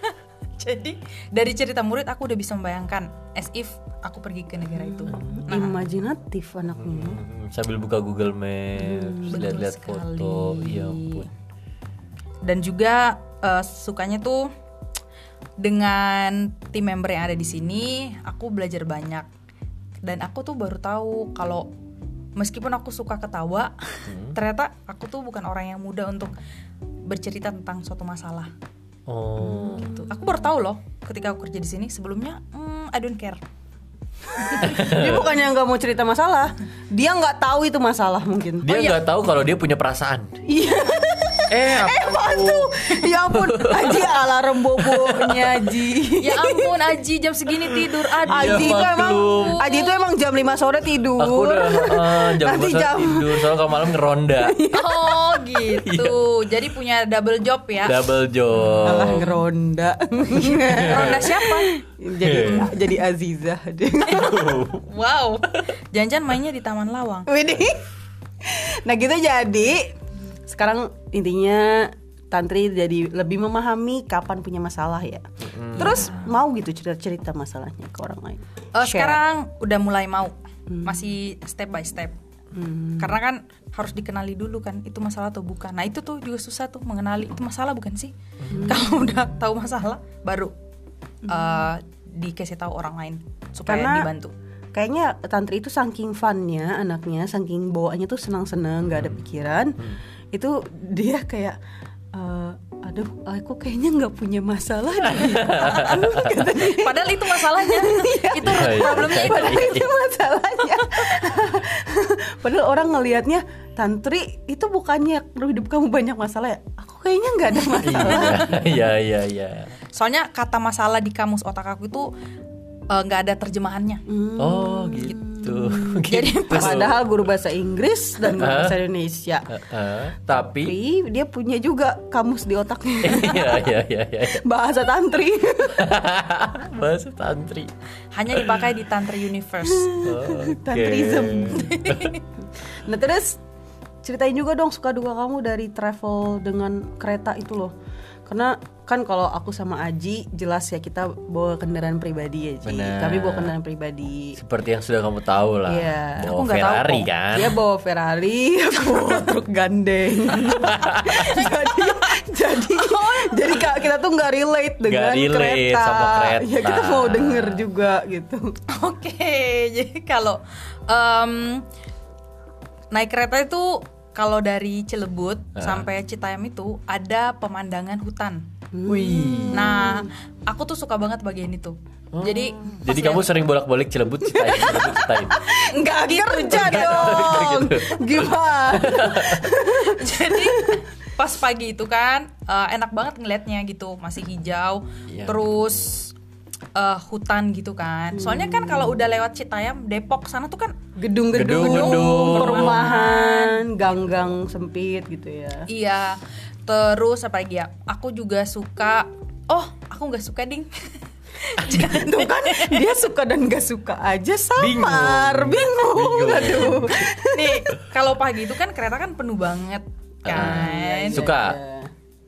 Speaker 3: Jadi dari cerita murid aku udah bisa membayangkan as if aku pergi ke negara itu. Nah,
Speaker 2: Imajinatif anakmu.
Speaker 1: Hmm, sambil buka Google Maps,
Speaker 3: Hmm, betul
Speaker 1: lihat-lihat
Speaker 3: sekali.
Speaker 1: foto, ya ampun.
Speaker 3: dan juga eh, sukanya tuh dengan tim member yang ada di sini, aku belajar banyak. Dan aku tuh baru tahu kalau meskipun aku suka ketawa,
Speaker 1: Hmm.
Speaker 3: ternyata aku tuh bukan orang yang mudah untuk bercerita tentang suatu masalah.
Speaker 1: Oh,
Speaker 3: Gitu. Aku baru tahu loh ketika aku kerja di sini. Sebelumnya, hmm, I don't care.
Speaker 2: Dia bukannya nggak mau cerita masalah, dia nggak tahu itu masalah mungkin.
Speaker 3: Oh, iya.
Speaker 1: dia nggak tahu kalau dia punya perasaan.
Speaker 2: Iya,
Speaker 1: Eh,
Speaker 2: apaan tuh? Ya ampun, Aji alarm bobonya Aji.
Speaker 3: Ya ampun Aji jam segini tidur
Speaker 1: Iya,
Speaker 3: Aduh
Speaker 2: Aji itu emang,
Speaker 1: maklum.
Speaker 2: Aji itu emang jam 5 sore tidur.
Speaker 1: aku udah eh, jam
Speaker 2: Nanti
Speaker 1: dua
Speaker 2: jam.
Speaker 1: tidur, soalnya kalau malam ngeronda,
Speaker 3: Oh
Speaker 2: Iya.
Speaker 3: gitu Jadi punya double job ya
Speaker 1: double job.
Speaker 2: Alah ngeronda.
Speaker 3: Ronda siapa?
Speaker 2: jadi jadi Aziza.
Speaker 3: Wow Jangan-jangan mainnya di Taman Lawang
Speaker 2: Widih. Nah gitu jadi sekarang intinya Tantri jadi lebih memahami kapan punya masalah ya. Terus mau gitu cerita-cerita masalahnya ke orang lain.
Speaker 3: Eh,
Speaker 2: Share. Hmm.
Speaker 3: Sekarang udah mulai mau Masih step by step Karena kan harus dikenali dulu kan Itu masalah atau bukan Nah itu tuh juga susah tuh mengenali Itu masalah bukan sih
Speaker 2: Hmm.
Speaker 3: Kalau udah tahu masalah Baru eh, Dikasih tahu orang lain Supaya
Speaker 2: Karena-
Speaker 3: dibantu
Speaker 2: Kayaknya Tantri itu saking funnya anaknya, saking bawaannya tuh senang-senang, nggak ada pikiran. Itu dia kayak eh, aduh aku kayaknya nggak punya masalah deh." Gitu. Kata dia.
Speaker 3: Padahal itu masalahnya. itu
Speaker 1: Iya, iya.
Speaker 3: problemnya itu.
Speaker 2: Padahal itu masalahnya. Padahal orang ngelihatnya tantri itu bukannya hidup kamu banyak masalah ya? Aku kayaknya nggak ada masalah.
Speaker 1: Iya, iya, iya.
Speaker 3: Soalnya kata masalah di kamus otak aku itu eh, nggak ada terjemahannya.
Speaker 1: Oh, gitu.
Speaker 3: Hmm. Jadi
Speaker 1: Gitu.
Speaker 2: Padahal guru bahasa Inggris dan guru bahasa Indonesia.
Speaker 1: Heeh, tapi
Speaker 2: Tapi dia punya juga kamus di otaknya.
Speaker 1: Iya, iya, iya, iya.
Speaker 2: bahasa tantri.
Speaker 1: Bahasa tantri.
Speaker 3: Hanya dipakai di Tantri Universe.
Speaker 1: Oke.
Speaker 2: Tantrism. nah terus ceritain juga dong suka duka kamu dari travel dengan kereta itu loh. Karena kan kalau aku sama Aji jelas ya kita bawa kendaraan pribadi ya Ji.
Speaker 1: Benar.
Speaker 2: Kami bawa kendaraan pribadi.
Speaker 1: Seperti yang sudah kamu tahu lah.
Speaker 2: Iya.
Speaker 1: Bawa
Speaker 3: Aku nggak tahu
Speaker 1: Ferrari
Speaker 3: kok. Iya,
Speaker 1: kan.
Speaker 2: Dia bawa Ferrari, aku bawa truk gandeng. jadi jadi jadi ka- kita tuh nggak relate dengan
Speaker 1: relate
Speaker 2: kereta.
Speaker 1: sama kereta.
Speaker 2: Ya kita mau denger juga gitu.
Speaker 3: Oke, jadi kalau em, naik kereta itu kalau dari Cilebut
Speaker 1: Ah.
Speaker 3: sampai Citayam itu ada pemandangan hutan.
Speaker 1: Wih. Oh.
Speaker 3: Nah, aku tuh suka banget bagian itu. Jadi
Speaker 1: Jadi kamu sering bolak-balik Cilebut Citayam, Cilebut Citayam.
Speaker 2: Nggak
Speaker 1: gitu.
Speaker 2: kerja dong. Gimana?
Speaker 3: jadi pas pagi itu kan eh, enak banget ngelihatnya gitu, masih hijau,
Speaker 1: Iya.
Speaker 3: terus eh, hutan gitu kan. Soalnya kan kalau udah lewat Citayam, Depok sana tuh kan
Speaker 2: gedung-gedung,
Speaker 1: Gedung-gedung.
Speaker 2: perumahan, gang-gang sempit gitu ya.
Speaker 3: Iya. Terus apa lagi ya? Aku juga suka. Oh, aku nggak suka ding.
Speaker 2: Itu kan dia suka dan gak suka aja samar,
Speaker 1: Bingung.
Speaker 2: bingung,
Speaker 1: Bingung.
Speaker 2: aduh.
Speaker 3: Nih, kalau pagi itu kan kereta kan penuh banget kan.
Speaker 1: Suka.
Speaker 2: Iya.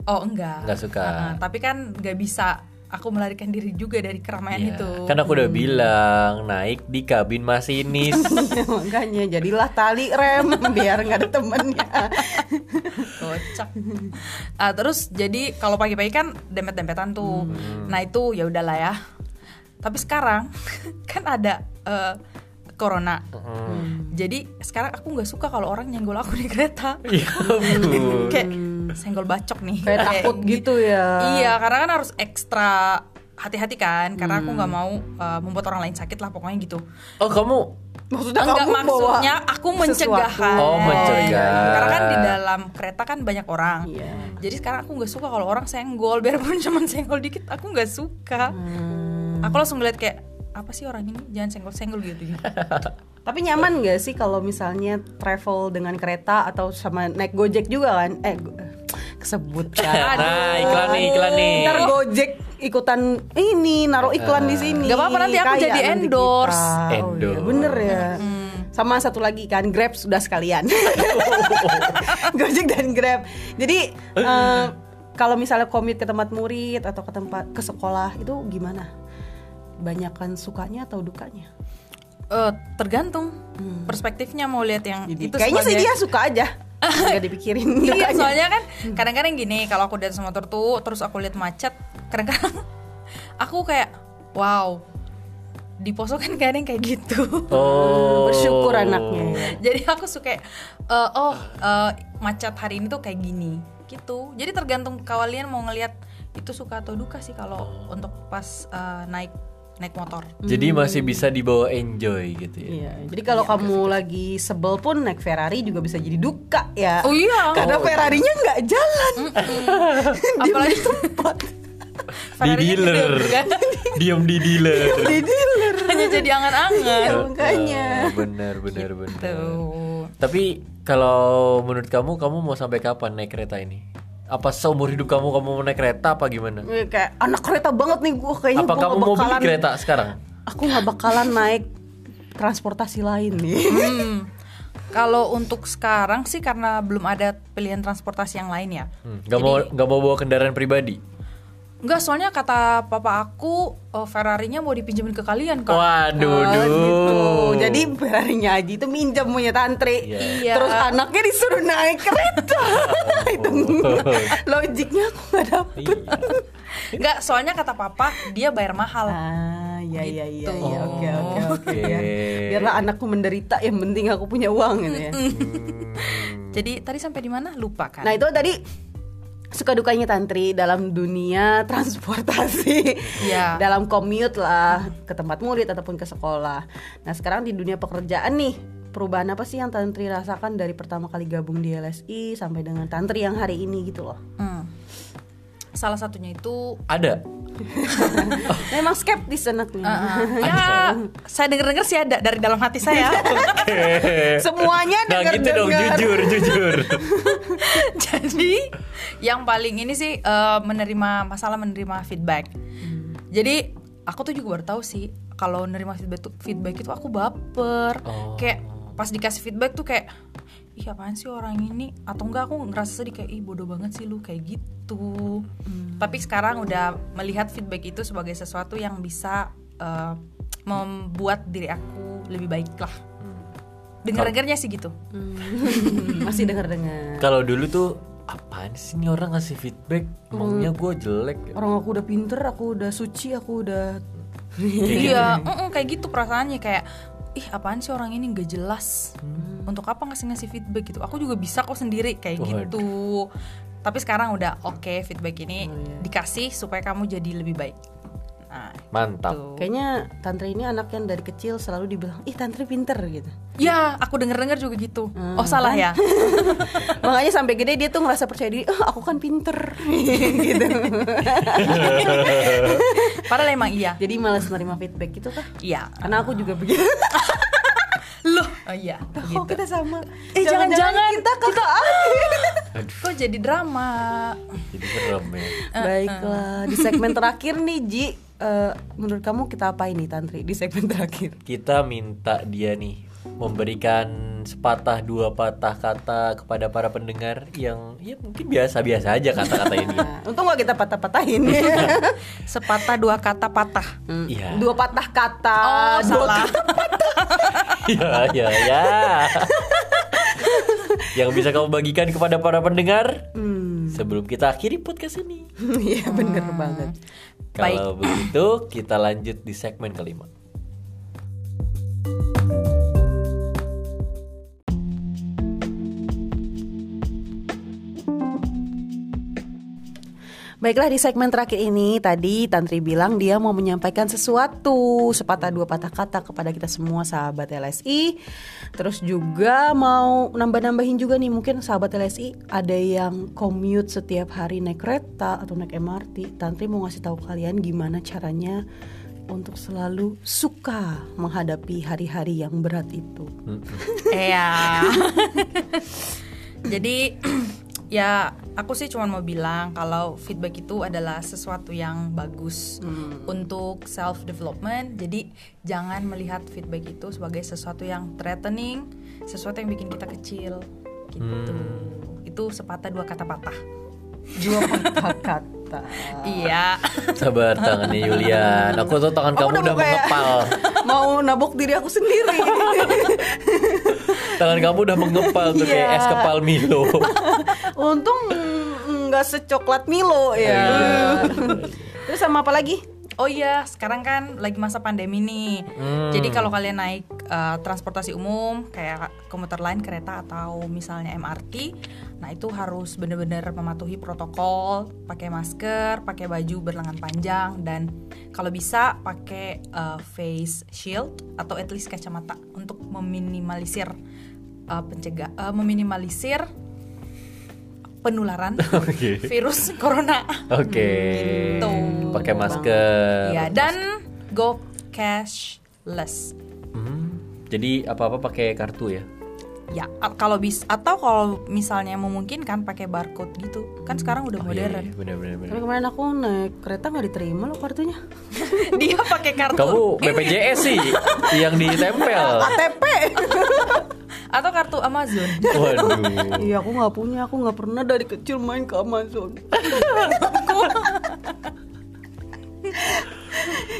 Speaker 3: Oh enggak.
Speaker 1: Ah, iya, Nggak suka.
Speaker 3: Heeh, tapi kan nggak bisa. Aku melarikan diri juga dari keramaian
Speaker 1: Iya.
Speaker 3: itu.
Speaker 1: Kan aku udah bilang naik di kabin masinis.
Speaker 2: Makanya jadilah tali rem biar nggak ada temennya.
Speaker 3: Kocak. Ah, terus jadi kalau pagi-pagi kan dempet-dempetan tuh.
Speaker 1: Hmm.
Speaker 3: Nah itu ya udahlah ya. Tapi sekarang kan ada eh, corona.
Speaker 1: Hmm.
Speaker 3: Jadi sekarang aku nggak suka kalau orang nyenggol aku di kereta.
Speaker 1: Iya, ampun.
Speaker 3: Kayak senggol bacok nih.
Speaker 2: Kayak takut gitu ya.
Speaker 3: Iya, karena kan harus ekstra hati-hati kan karena
Speaker 2: Hmm.
Speaker 3: aku nggak mau eh, membuat orang lain sakit lah pokoknya gitu.
Speaker 1: Oh, kamu
Speaker 2: Maksudnya
Speaker 3: Enggak
Speaker 2: kamu bawa
Speaker 3: maksudnya aku mencegah kan.
Speaker 1: Oh, mencegah.
Speaker 3: Karena kan di dalam kereta kan banyak orang.
Speaker 2: Iya.
Speaker 3: Jadi sekarang aku nggak suka kalau orang senggol, biarpun cuma senggol dikit, aku nggak suka.
Speaker 2: Hmm.
Speaker 3: Aku langsung ngeliat kayak apa sih orang ini jangan senggol-senggol gitu.
Speaker 2: Tapi nyaman gak sih kalau misalnya travel dengan kereta atau sama naik gojek juga kan? Eh, go- kesebut kan.
Speaker 1: Nah, iklan nih, iklan nih.
Speaker 2: Ntar gojek ikutan ini naruh iklan di sini.
Speaker 3: Gak apa-apa, nanti aku
Speaker 2: Kaya
Speaker 3: jadi
Speaker 2: nanti
Speaker 3: endorse.
Speaker 2: kita. Oh, iya,
Speaker 1: Endorse.
Speaker 2: bener ya. Sama satu lagi kan Grab sudah sekalian. Gojek dan Grab. Jadi eh, kalau misalnya komit ke tempat murid atau ke tempat ke sekolah itu gimana? Banyakan sukanya atau dukanya?
Speaker 3: Eh, tergantung perspektifnya mau lihat yang
Speaker 2: Hmm. Jadi,
Speaker 3: Mm, itu
Speaker 2: kayaknya sih
Speaker 3: sebagai-
Speaker 2: dia suka aja. Gak dipikirin. Dukanya.
Speaker 3: Iya, soalnya kan kadang-kadang gini kalau aku di atas motor tuh terus aku lihat macet, kadang-kadang aku kayak wow. Di poso kan kadang kayak gitu.
Speaker 1: oh.
Speaker 2: bersyukur anaknya.
Speaker 3: Jadi aku suka eh, oh eh, macet hari ini tuh kayak gini gitu. Jadi tergantung kalian mau ngelihat itu suka atau duka sih kalau
Speaker 1: Oh.
Speaker 3: untuk pas eh, naik naik motor.
Speaker 1: Jadi
Speaker 3: Hmm.
Speaker 1: masih bisa dibawa enjoy gitu ya.
Speaker 2: Iya, jadi kalau kamu lagi sebel pun naik Ferrari juga bisa jadi duka ya.
Speaker 3: Oh iya.
Speaker 2: Karena Ferrarinya nggak jalan.
Speaker 3: Apalagi
Speaker 2: ya,
Speaker 1: Di
Speaker 3: Ferrarinya gede,
Speaker 1: dealer.
Speaker 3: kan?
Speaker 1: Diam di dealer.
Speaker 2: Di dealer.
Speaker 3: hanya jadi angan-angan.
Speaker 2: Iya, makanya.
Speaker 1: Ah, benar, benar, benar.
Speaker 3: Tuh.
Speaker 1: Tapi kalau menurut kamu, kamu mau sampai kapan naik kereta ini? Apa seumur hidup kamu kamu mau naik kereta apa gimana?
Speaker 2: Gue Iya, Kayak anak kereta banget nih gue kayaknya
Speaker 1: Apa
Speaker 2: gue
Speaker 1: kamu
Speaker 2: nggak
Speaker 1: mau beli
Speaker 2: bakalan
Speaker 1: kereta sekarang?
Speaker 2: aku nggak bakalan naik transportasi lain nih.
Speaker 3: Hmm. Kalau untuk sekarang sih karena belum ada pilihan transportasi yang lain ya.
Speaker 1: Hmm, Gak mau nggak mau bawa kendaraan pribadi?
Speaker 3: Enggak, soalnya kata papa aku eh, Ferrarinya mau dipinjemin ke kalian kan.
Speaker 1: Waduh,
Speaker 2: Oh,
Speaker 1: duh.
Speaker 2: gitu. Jadi Ferrarinya Aji itu minjam punya tantri.
Speaker 1: Iya.
Speaker 3: Iya.
Speaker 2: Terus anaknya disuruh naik kereta. Itu logiknya aku nggak
Speaker 1: Oh.
Speaker 2: dapet.
Speaker 1: Iya.
Speaker 3: Enggak, soalnya kata papa dia bayar mahal.
Speaker 2: Ah, ya ya ya ya.
Speaker 3: Gitu.
Speaker 2: Oke oke oke.
Speaker 1: Oke.
Speaker 2: biar- Biarlah anakku menderita, yang penting aku punya uang gitu ya.
Speaker 3: Jadi tadi sampai di mana? Lupa kan.
Speaker 2: Nah, itu Nah, tadi suka dukanya tantri dalam dunia transportasi
Speaker 3: Iya.
Speaker 2: dalam commute lah ke tempat murid ataupun ke sekolah nah sekarang di dunia pekerjaan nih perubahan apa sih yang tantri rasakan dari pertama kali gabung di LSI sampai dengan tantri yang hari ini gitu loh
Speaker 3: Hmm. Salah satunya itu
Speaker 1: Ada.
Speaker 2: memang skeptis anaknya
Speaker 3: ya saya denger-denger sih ada dari dalam hati saya.
Speaker 2: semuanya
Speaker 1: nah
Speaker 2: dengar
Speaker 1: gitu dong jujur jujur.
Speaker 3: Jadi yang paling ini sih eh, menerima masalah menerima feedback. Jadi aku tuh juga baru tahu sih kalau nerima feedback tuh- feedback itu aku baper.
Speaker 1: Oh.
Speaker 3: Kayak pas dikasih feedback tuh kayak ih apaan sih orang ini atau enggak aku ngerasa sedih kayak ih bodoh banget sih lu kayak gitu. Tapi sekarang udah melihat feedback itu sebagai sesuatu yang bisa eh, membuat diri aku lebih baik lah. Dengar-dengarnya sih gitu.
Speaker 2: Hmm. masih dengar dengar
Speaker 1: Kalau dulu tuh apaan sih nih orang ngasih feedback maunya
Speaker 2: Hmm.
Speaker 1: gue jelek. ya?
Speaker 2: orang aku udah pinter aku udah suci aku udah
Speaker 3: Iya, mm-mm, kayak gitu perasaannya kayak ih apaan sih orang ini nggak jelas. Untuk apa ngasih ngasih feedback gitu? Aku juga bisa kok sendiri kayak
Speaker 1: Waduh.
Speaker 3: gitu. Tapi sekarang udah oke feedback ini dikasih supaya kamu jadi lebih baik. Nah,
Speaker 1: Mantap.
Speaker 3: tuh.
Speaker 2: Kayaknya Tantri ini anak yang dari kecil selalu dibilang, ih Tantri pinter gitu. Hmm, kan?
Speaker 3: Ya, aku denger-denger juga gitu. oh, salah ya.
Speaker 2: Makanya sampai gede dia tuh ngerasa percaya diri, "Ah, aku kan pinter gitu.
Speaker 3: Padahal emang iya.
Speaker 2: Jadi malas nerima feedback gitu kah?
Speaker 3: Iya.
Speaker 2: Karena aku juga begitu.
Speaker 3: Loh, oh iya.
Speaker 2: Oh
Speaker 3: gitu.
Speaker 2: kita sama.
Speaker 3: Eh, jangan-jangan
Speaker 2: kita kakak adik.
Speaker 3: Kok jadi drama?
Speaker 1: Jadi merem ya.
Speaker 3: Eh,
Speaker 2: Baiklah, di segmen terakhir nih Ji, Eh, menurut kamu kita apain nih Tantri di segmen terakhir?
Speaker 1: Kita minta dia nih memberikan sepatah dua patah kata kepada para pendengar yang ya mungkin biasa-biasa aja kata-kata ini.
Speaker 2: Nah, untung gak kita patah-patahin.
Speaker 3: Sepatah dua kata patah.
Speaker 2: Hmm,
Speaker 1: Iya.
Speaker 2: Dua patah kata.
Speaker 3: Oh,
Speaker 2: dua
Speaker 3: salah.
Speaker 1: ya ya ya. yang bisa kamu bagikan kepada para pendengar
Speaker 2: Hmm.
Speaker 1: sebelum kita akhiri podcast ini.
Speaker 2: Iya bener banget.
Speaker 3: Baik.
Speaker 1: Kalau begitu kita lanjut di segmen kelima.
Speaker 2: Baiklah di segmen terakhir ini tadi Tantri bilang dia mau menyampaikan sesuatu sepatah dua patah kata kepada kita semua sahabat LSI. Terus juga mau nambah-nambahin juga nih mungkin sahabat LSI ada yang commute setiap hari naik kereta atau naik MRT. Tantri mau ngasih tahu kalian gimana caranya untuk selalu suka menghadapi hari-hari yang berat itu.
Speaker 3: Iya. Jadi ya aku sih cuma mau bilang kalau feedback itu adalah sesuatu yang bagus untuk self development. Jadi jangan melihat feedback itu sebagai sesuatu yang threatening, sesuatu yang bikin kita kecil gitu. Itu sepatah dua kata patah.
Speaker 2: Dua patah kata.
Speaker 3: Iya.
Speaker 1: Sabar tangannya Yulian. Aku tuh tangan kamu
Speaker 2: udah
Speaker 1: udah
Speaker 2: mau kayak-
Speaker 1: mengepal.
Speaker 2: mau nabok diri aku sendiri.
Speaker 1: Tangan kamu udah mengepal tuh kayak
Speaker 2: Iya.
Speaker 1: es kepal Milo.
Speaker 2: Untung mm, nggak secoklat Milo
Speaker 1: Iya.
Speaker 2: ya. Terus sama apa lagi?
Speaker 3: Oh iya, sekarang kan lagi masa pandemi nih. Jadi kalau kalian naik eh, transportasi umum kayak komuter lain, kereta atau misalnya MRT, nah itu harus benar-benar mematuhi protokol, pakai masker, pakai baju berlengan panjang dan kalau bisa pakai eh, face shield atau at least kacamata untuk meminimalisir eh, pencegah eh, meminimalisir penularan
Speaker 1: Oke.
Speaker 3: virus corona.
Speaker 1: Oke.
Speaker 3: Gitu.
Speaker 1: Pakai masker.
Speaker 3: Iya, dan go cashless.
Speaker 1: Hmm, Jadi apa-apa pakai kartu ya.
Speaker 3: Ya, a- kalau bis atau kalau misalnya memungkinkan pakai barcode gitu. Kan
Speaker 1: Oh,
Speaker 3: sekarang
Speaker 1: Iya,
Speaker 3: udah modern.
Speaker 1: Bener-bener.
Speaker 2: Tapi kemarin aku naik kereta nggak diterima loh kartunya.
Speaker 3: Dia pakai kartu
Speaker 1: Kamu BPJS sih yang ditempel.
Speaker 2: KTP.
Speaker 3: atau kartu Amazon.
Speaker 1: Waduh.
Speaker 2: Iya aku nggak punya, aku nggak pernah dari kecil main ke Amazon.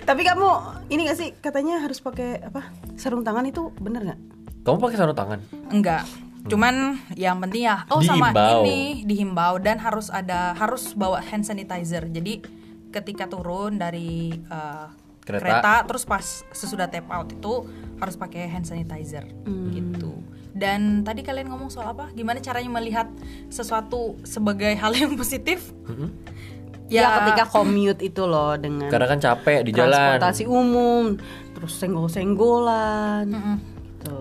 Speaker 2: Tapi kamu ini gak sih katanya harus pakai apa sarung tangan itu bener nggak?
Speaker 1: Kamu pakai sarung tangan.
Speaker 3: Enggak. Cuman yang penting ya oh sama
Speaker 1: Dihimbau.
Speaker 3: ini dihimbau dan harus ada harus bawa hand sanitizer. Jadi ketika turun dari eh,
Speaker 1: Kereta.
Speaker 3: kereta.
Speaker 2: Hmm.
Speaker 3: terus pas sesudah tap out itu harus pakai hand sanitizer gitu. Dan tadi kalian ngomong soal apa? Gimana caranya melihat sesuatu sebagai hal yang positif?
Speaker 1: Hmm.
Speaker 2: Ya, ketika commute itu loh dengan
Speaker 1: Karena kan capek di jalan.
Speaker 2: transportasi umum, terus senggol-senggolan. Gitu.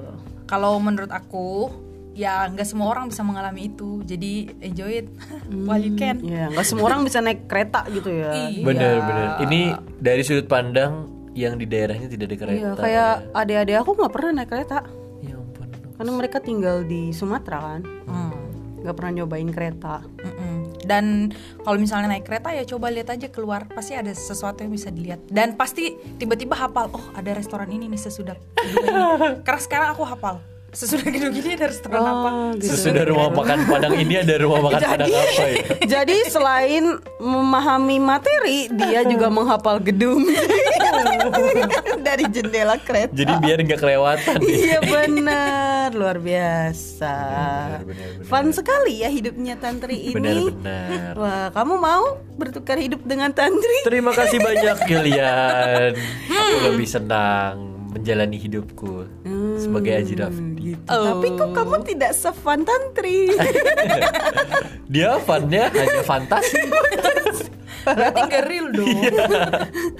Speaker 3: Kalau menurut aku, ya nggak semua orang bisa mengalami itu. Jadi enjoy it while you can.
Speaker 2: Ya, nggak semua orang bisa naik kereta gitu ya.
Speaker 3: Iya.
Speaker 1: Iya. Bener bener. Ini dari sudut pandang yang di daerahnya tidak ada kereta.
Speaker 2: Iya, kayak adik-adik aku nggak pernah naik kereta.
Speaker 1: Ya ampun.
Speaker 2: Karena mereka tinggal di Sumatera kan.
Speaker 3: Hmm.
Speaker 2: nggak pernah nyobain kereta.
Speaker 3: Mm-mm. Dan kalau misalnya naik kereta ya coba lihat aja keluar, pasti ada sesuatu yang bisa dilihat. Dan pasti tiba-tiba hafal, oh ada restoran ini nih sesudah kedua ini. Karena sekarang aku hafal. Sesudah gedung ini ada restoran
Speaker 2: Oh,
Speaker 3: apa?
Speaker 2: gitu.
Speaker 1: Sesudah rumah makan Padang ini ada rumah makan Padang apa ya?
Speaker 2: Jadi selain memahami materi, dia juga menghafal gedung dari jendela kereta.
Speaker 1: Jadi biar nggak kelewatan nih.
Speaker 2: Iya benar, luar biasa.
Speaker 1: Benar, benar, benar.
Speaker 2: Fun sekali ya hidupnya Tantri ini.
Speaker 1: Benar-benar.
Speaker 2: Wah, kamu mau bertukar hidup dengan Tantri?
Speaker 1: Terima kasih banyak Gilian. Aku lebih senang menjalani hidupku sebagai Aji Rafdi.
Speaker 2: Tapi kok kamu tidak sefun Tantri?
Speaker 1: Dia ya? funnya hanya fantasi.
Speaker 3: Berarti nggak real dong.
Speaker 2: Iya,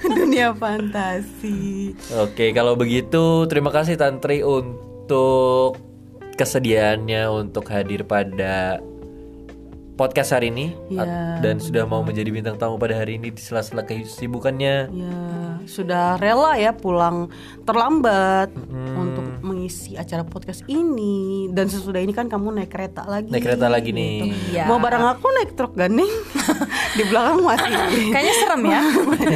Speaker 2: Dunia fantasi.
Speaker 1: Oke, kalau begitu terima kasih Tantri untuk kesediaannya untuk hadir pada podcast hari ini
Speaker 2: Iya.
Speaker 1: dan sudah mau menjadi bintang tamu pada hari ini di sela-sela kesibukannya.
Speaker 2: Ya, sudah rela ya pulang terlambat untuk mengisi acara podcast ini dan sesudah ini kan kamu naik kereta lagi. Gitu. Ya.
Speaker 1: Naik kereta lagi nih.
Speaker 3: Iya.
Speaker 2: Mau bareng aku naik truk gandeng di belakang masih
Speaker 3: Kayaknya serem ya.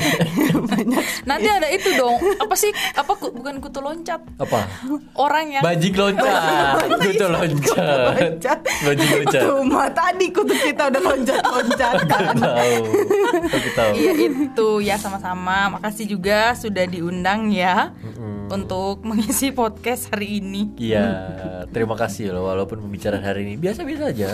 Speaker 2: banyak.
Speaker 3: Nanti ada itu dong. Apa sih? Apa ku- bukan kutu loncat?
Speaker 1: Apa?
Speaker 3: Orang yang
Speaker 1: Bajik loncat, kutu loncat,
Speaker 2: loncat.
Speaker 1: bajik loncat.
Speaker 2: Cuma tadi kutu kita udah loncat-loncatan.
Speaker 1: Tahu, aku tahu.
Speaker 3: Iya itu ya sama-sama. Makasih juga sudah diundang ya untuk mengisi podcast hari ini.
Speaker 1: Iya, terima kasih loh walaupun pembicaraan hari ini biasa-biasa aja.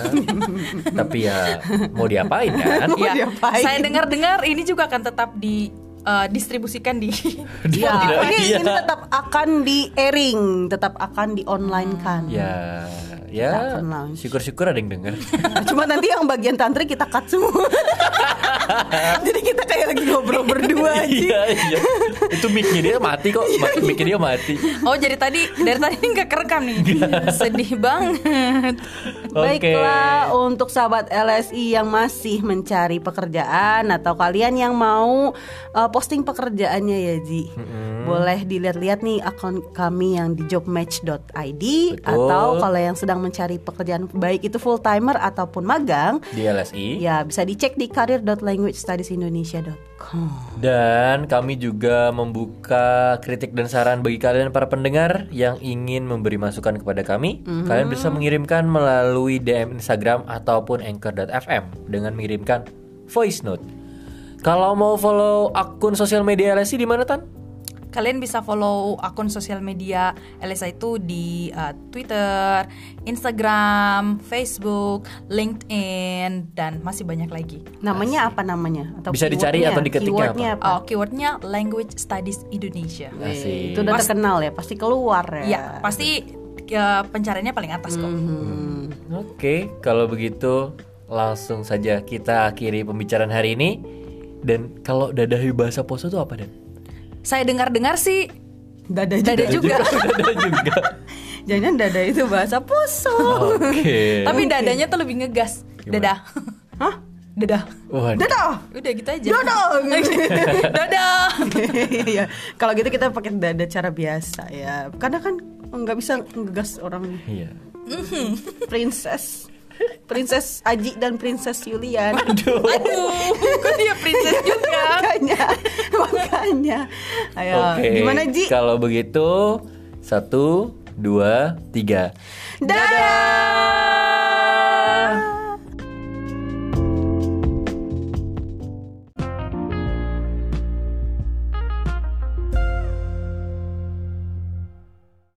Speaker 1: Tapi ya mau diapain kan?
Speaker 2: Mau diapain?
Speaker 3: Iya. Saya dengar-dengar ini juga akan tetap di eh, distribusikan di
Speaker 2: Iya,
Speaker 1: Iya.
Speaker 2: ini, ini tetap akan di airing, tetap akan di online kan.
Speaker 1: Ya, ya.
Speaker 2: Kita akan launch.
Speaker 1: Syukur-syukur ada yang denger.
Speaker 2: Cuma nanti yang bagian tantri kita cut semua. Jadi kita kayak lagi ngobrol berdua aja.
Speaker 1: iya, iya. Itu mic-nya dia mati kok. Ma- Mic-nya dia mati.
Speaker 3: Oh jadi tadi dari tadi nggak kerekam nih. Sedih banget.
Speaker 1: Oke.
Speaker 2: Baiklah untuk sahabat LSI yang masih mencari pekerjaan atau kalian yang mau uh, posting pekerjaannya ya Ji. Boleh dilihat-lihat nih akun kami yang di jobmatch.id atau kalau yang sedang mencari pekerjaan baik itu full timer ataupun magang
Speaker 1: Di LSI.
Speaker 2: ya bisa dicek di career.languagestudiesindonesia.com.
Speaker 1: Dan kami juga membuka kritik dan saran bagi kalian para pendengar yang ingin memberi masukan kepada kami.
Speaker 3: Mhm.
Speaker 1: Kalian bisa mengirimkan melalui DM Instagram ataupun anchor.fm dengan mengirimkan voice note. Kalau mau follow akun sosial media LSI di mana Tan?
Speaker 3: Kalian bisa follow akun sosial media Elisa itu di eh, Twitter, Instagram, Facebook, LinkedIn, dan masih banyak lagi.
Speaker 2: Namanya apa namanya? Atau
Speaker 1: Bisa dicari
Speaker 2: keywordnya?
Speaker 1: atau diketiknya apa?
Speaker 2: Keywordnya apa?
Speaker 3: Oh, keywordnya Language Studies Indonesia.
Speaker 1: Asik.
Speaker 2: Itu udah terkenal ya, pasti keluar ya.
Speaker 3: Iya, Mhm. pasti eh, pencariannya paling atas kok.
Speaker 2: Hmm.
Speaker 1: Oke, kalau begitu langsung saja kita akhiri pembicaraan hari ini. Dan kalau dadahi bahasa poso itu apa, Dan?
Speaker 3: Saya dengar-dengar sih
Speaker 2: Dada juga.
Speaker 3: dada juga,
Speaker 1: Dada juga.
Speaker 2: Jangan dada itu bahasa poso.
Speaker 1: Oke.
Speaker 3: tapi dadanya tuh lebih ngegas. Dadah.
Speaker 2: Hah?
Speaker 3: Dadah.
Speaker 1: Waduh.
Speaker 2: Dada.
Speaker 3: Udah gitu aja.
Speaker 2: Dada.
Speaker 3: Dadah.
Speaker 2: Iya. Kalau gitu kita pakai dada cara biasa ya. Karena kan nggak bisa ngegas orang
Speaker 1: Iya.
Speaker 2: princess. Princess Aji dan Princess Yulian.
Speaker 3: Aduh, kok dia princess juga.
Speaker 2: makanya, makanya. Ayo,
Speaker 1: Oke.
Speaker 2: gimana Ji?
Speaker 1: Kalau begitu satu, dua, tiga.
Speaker 2: Dadah.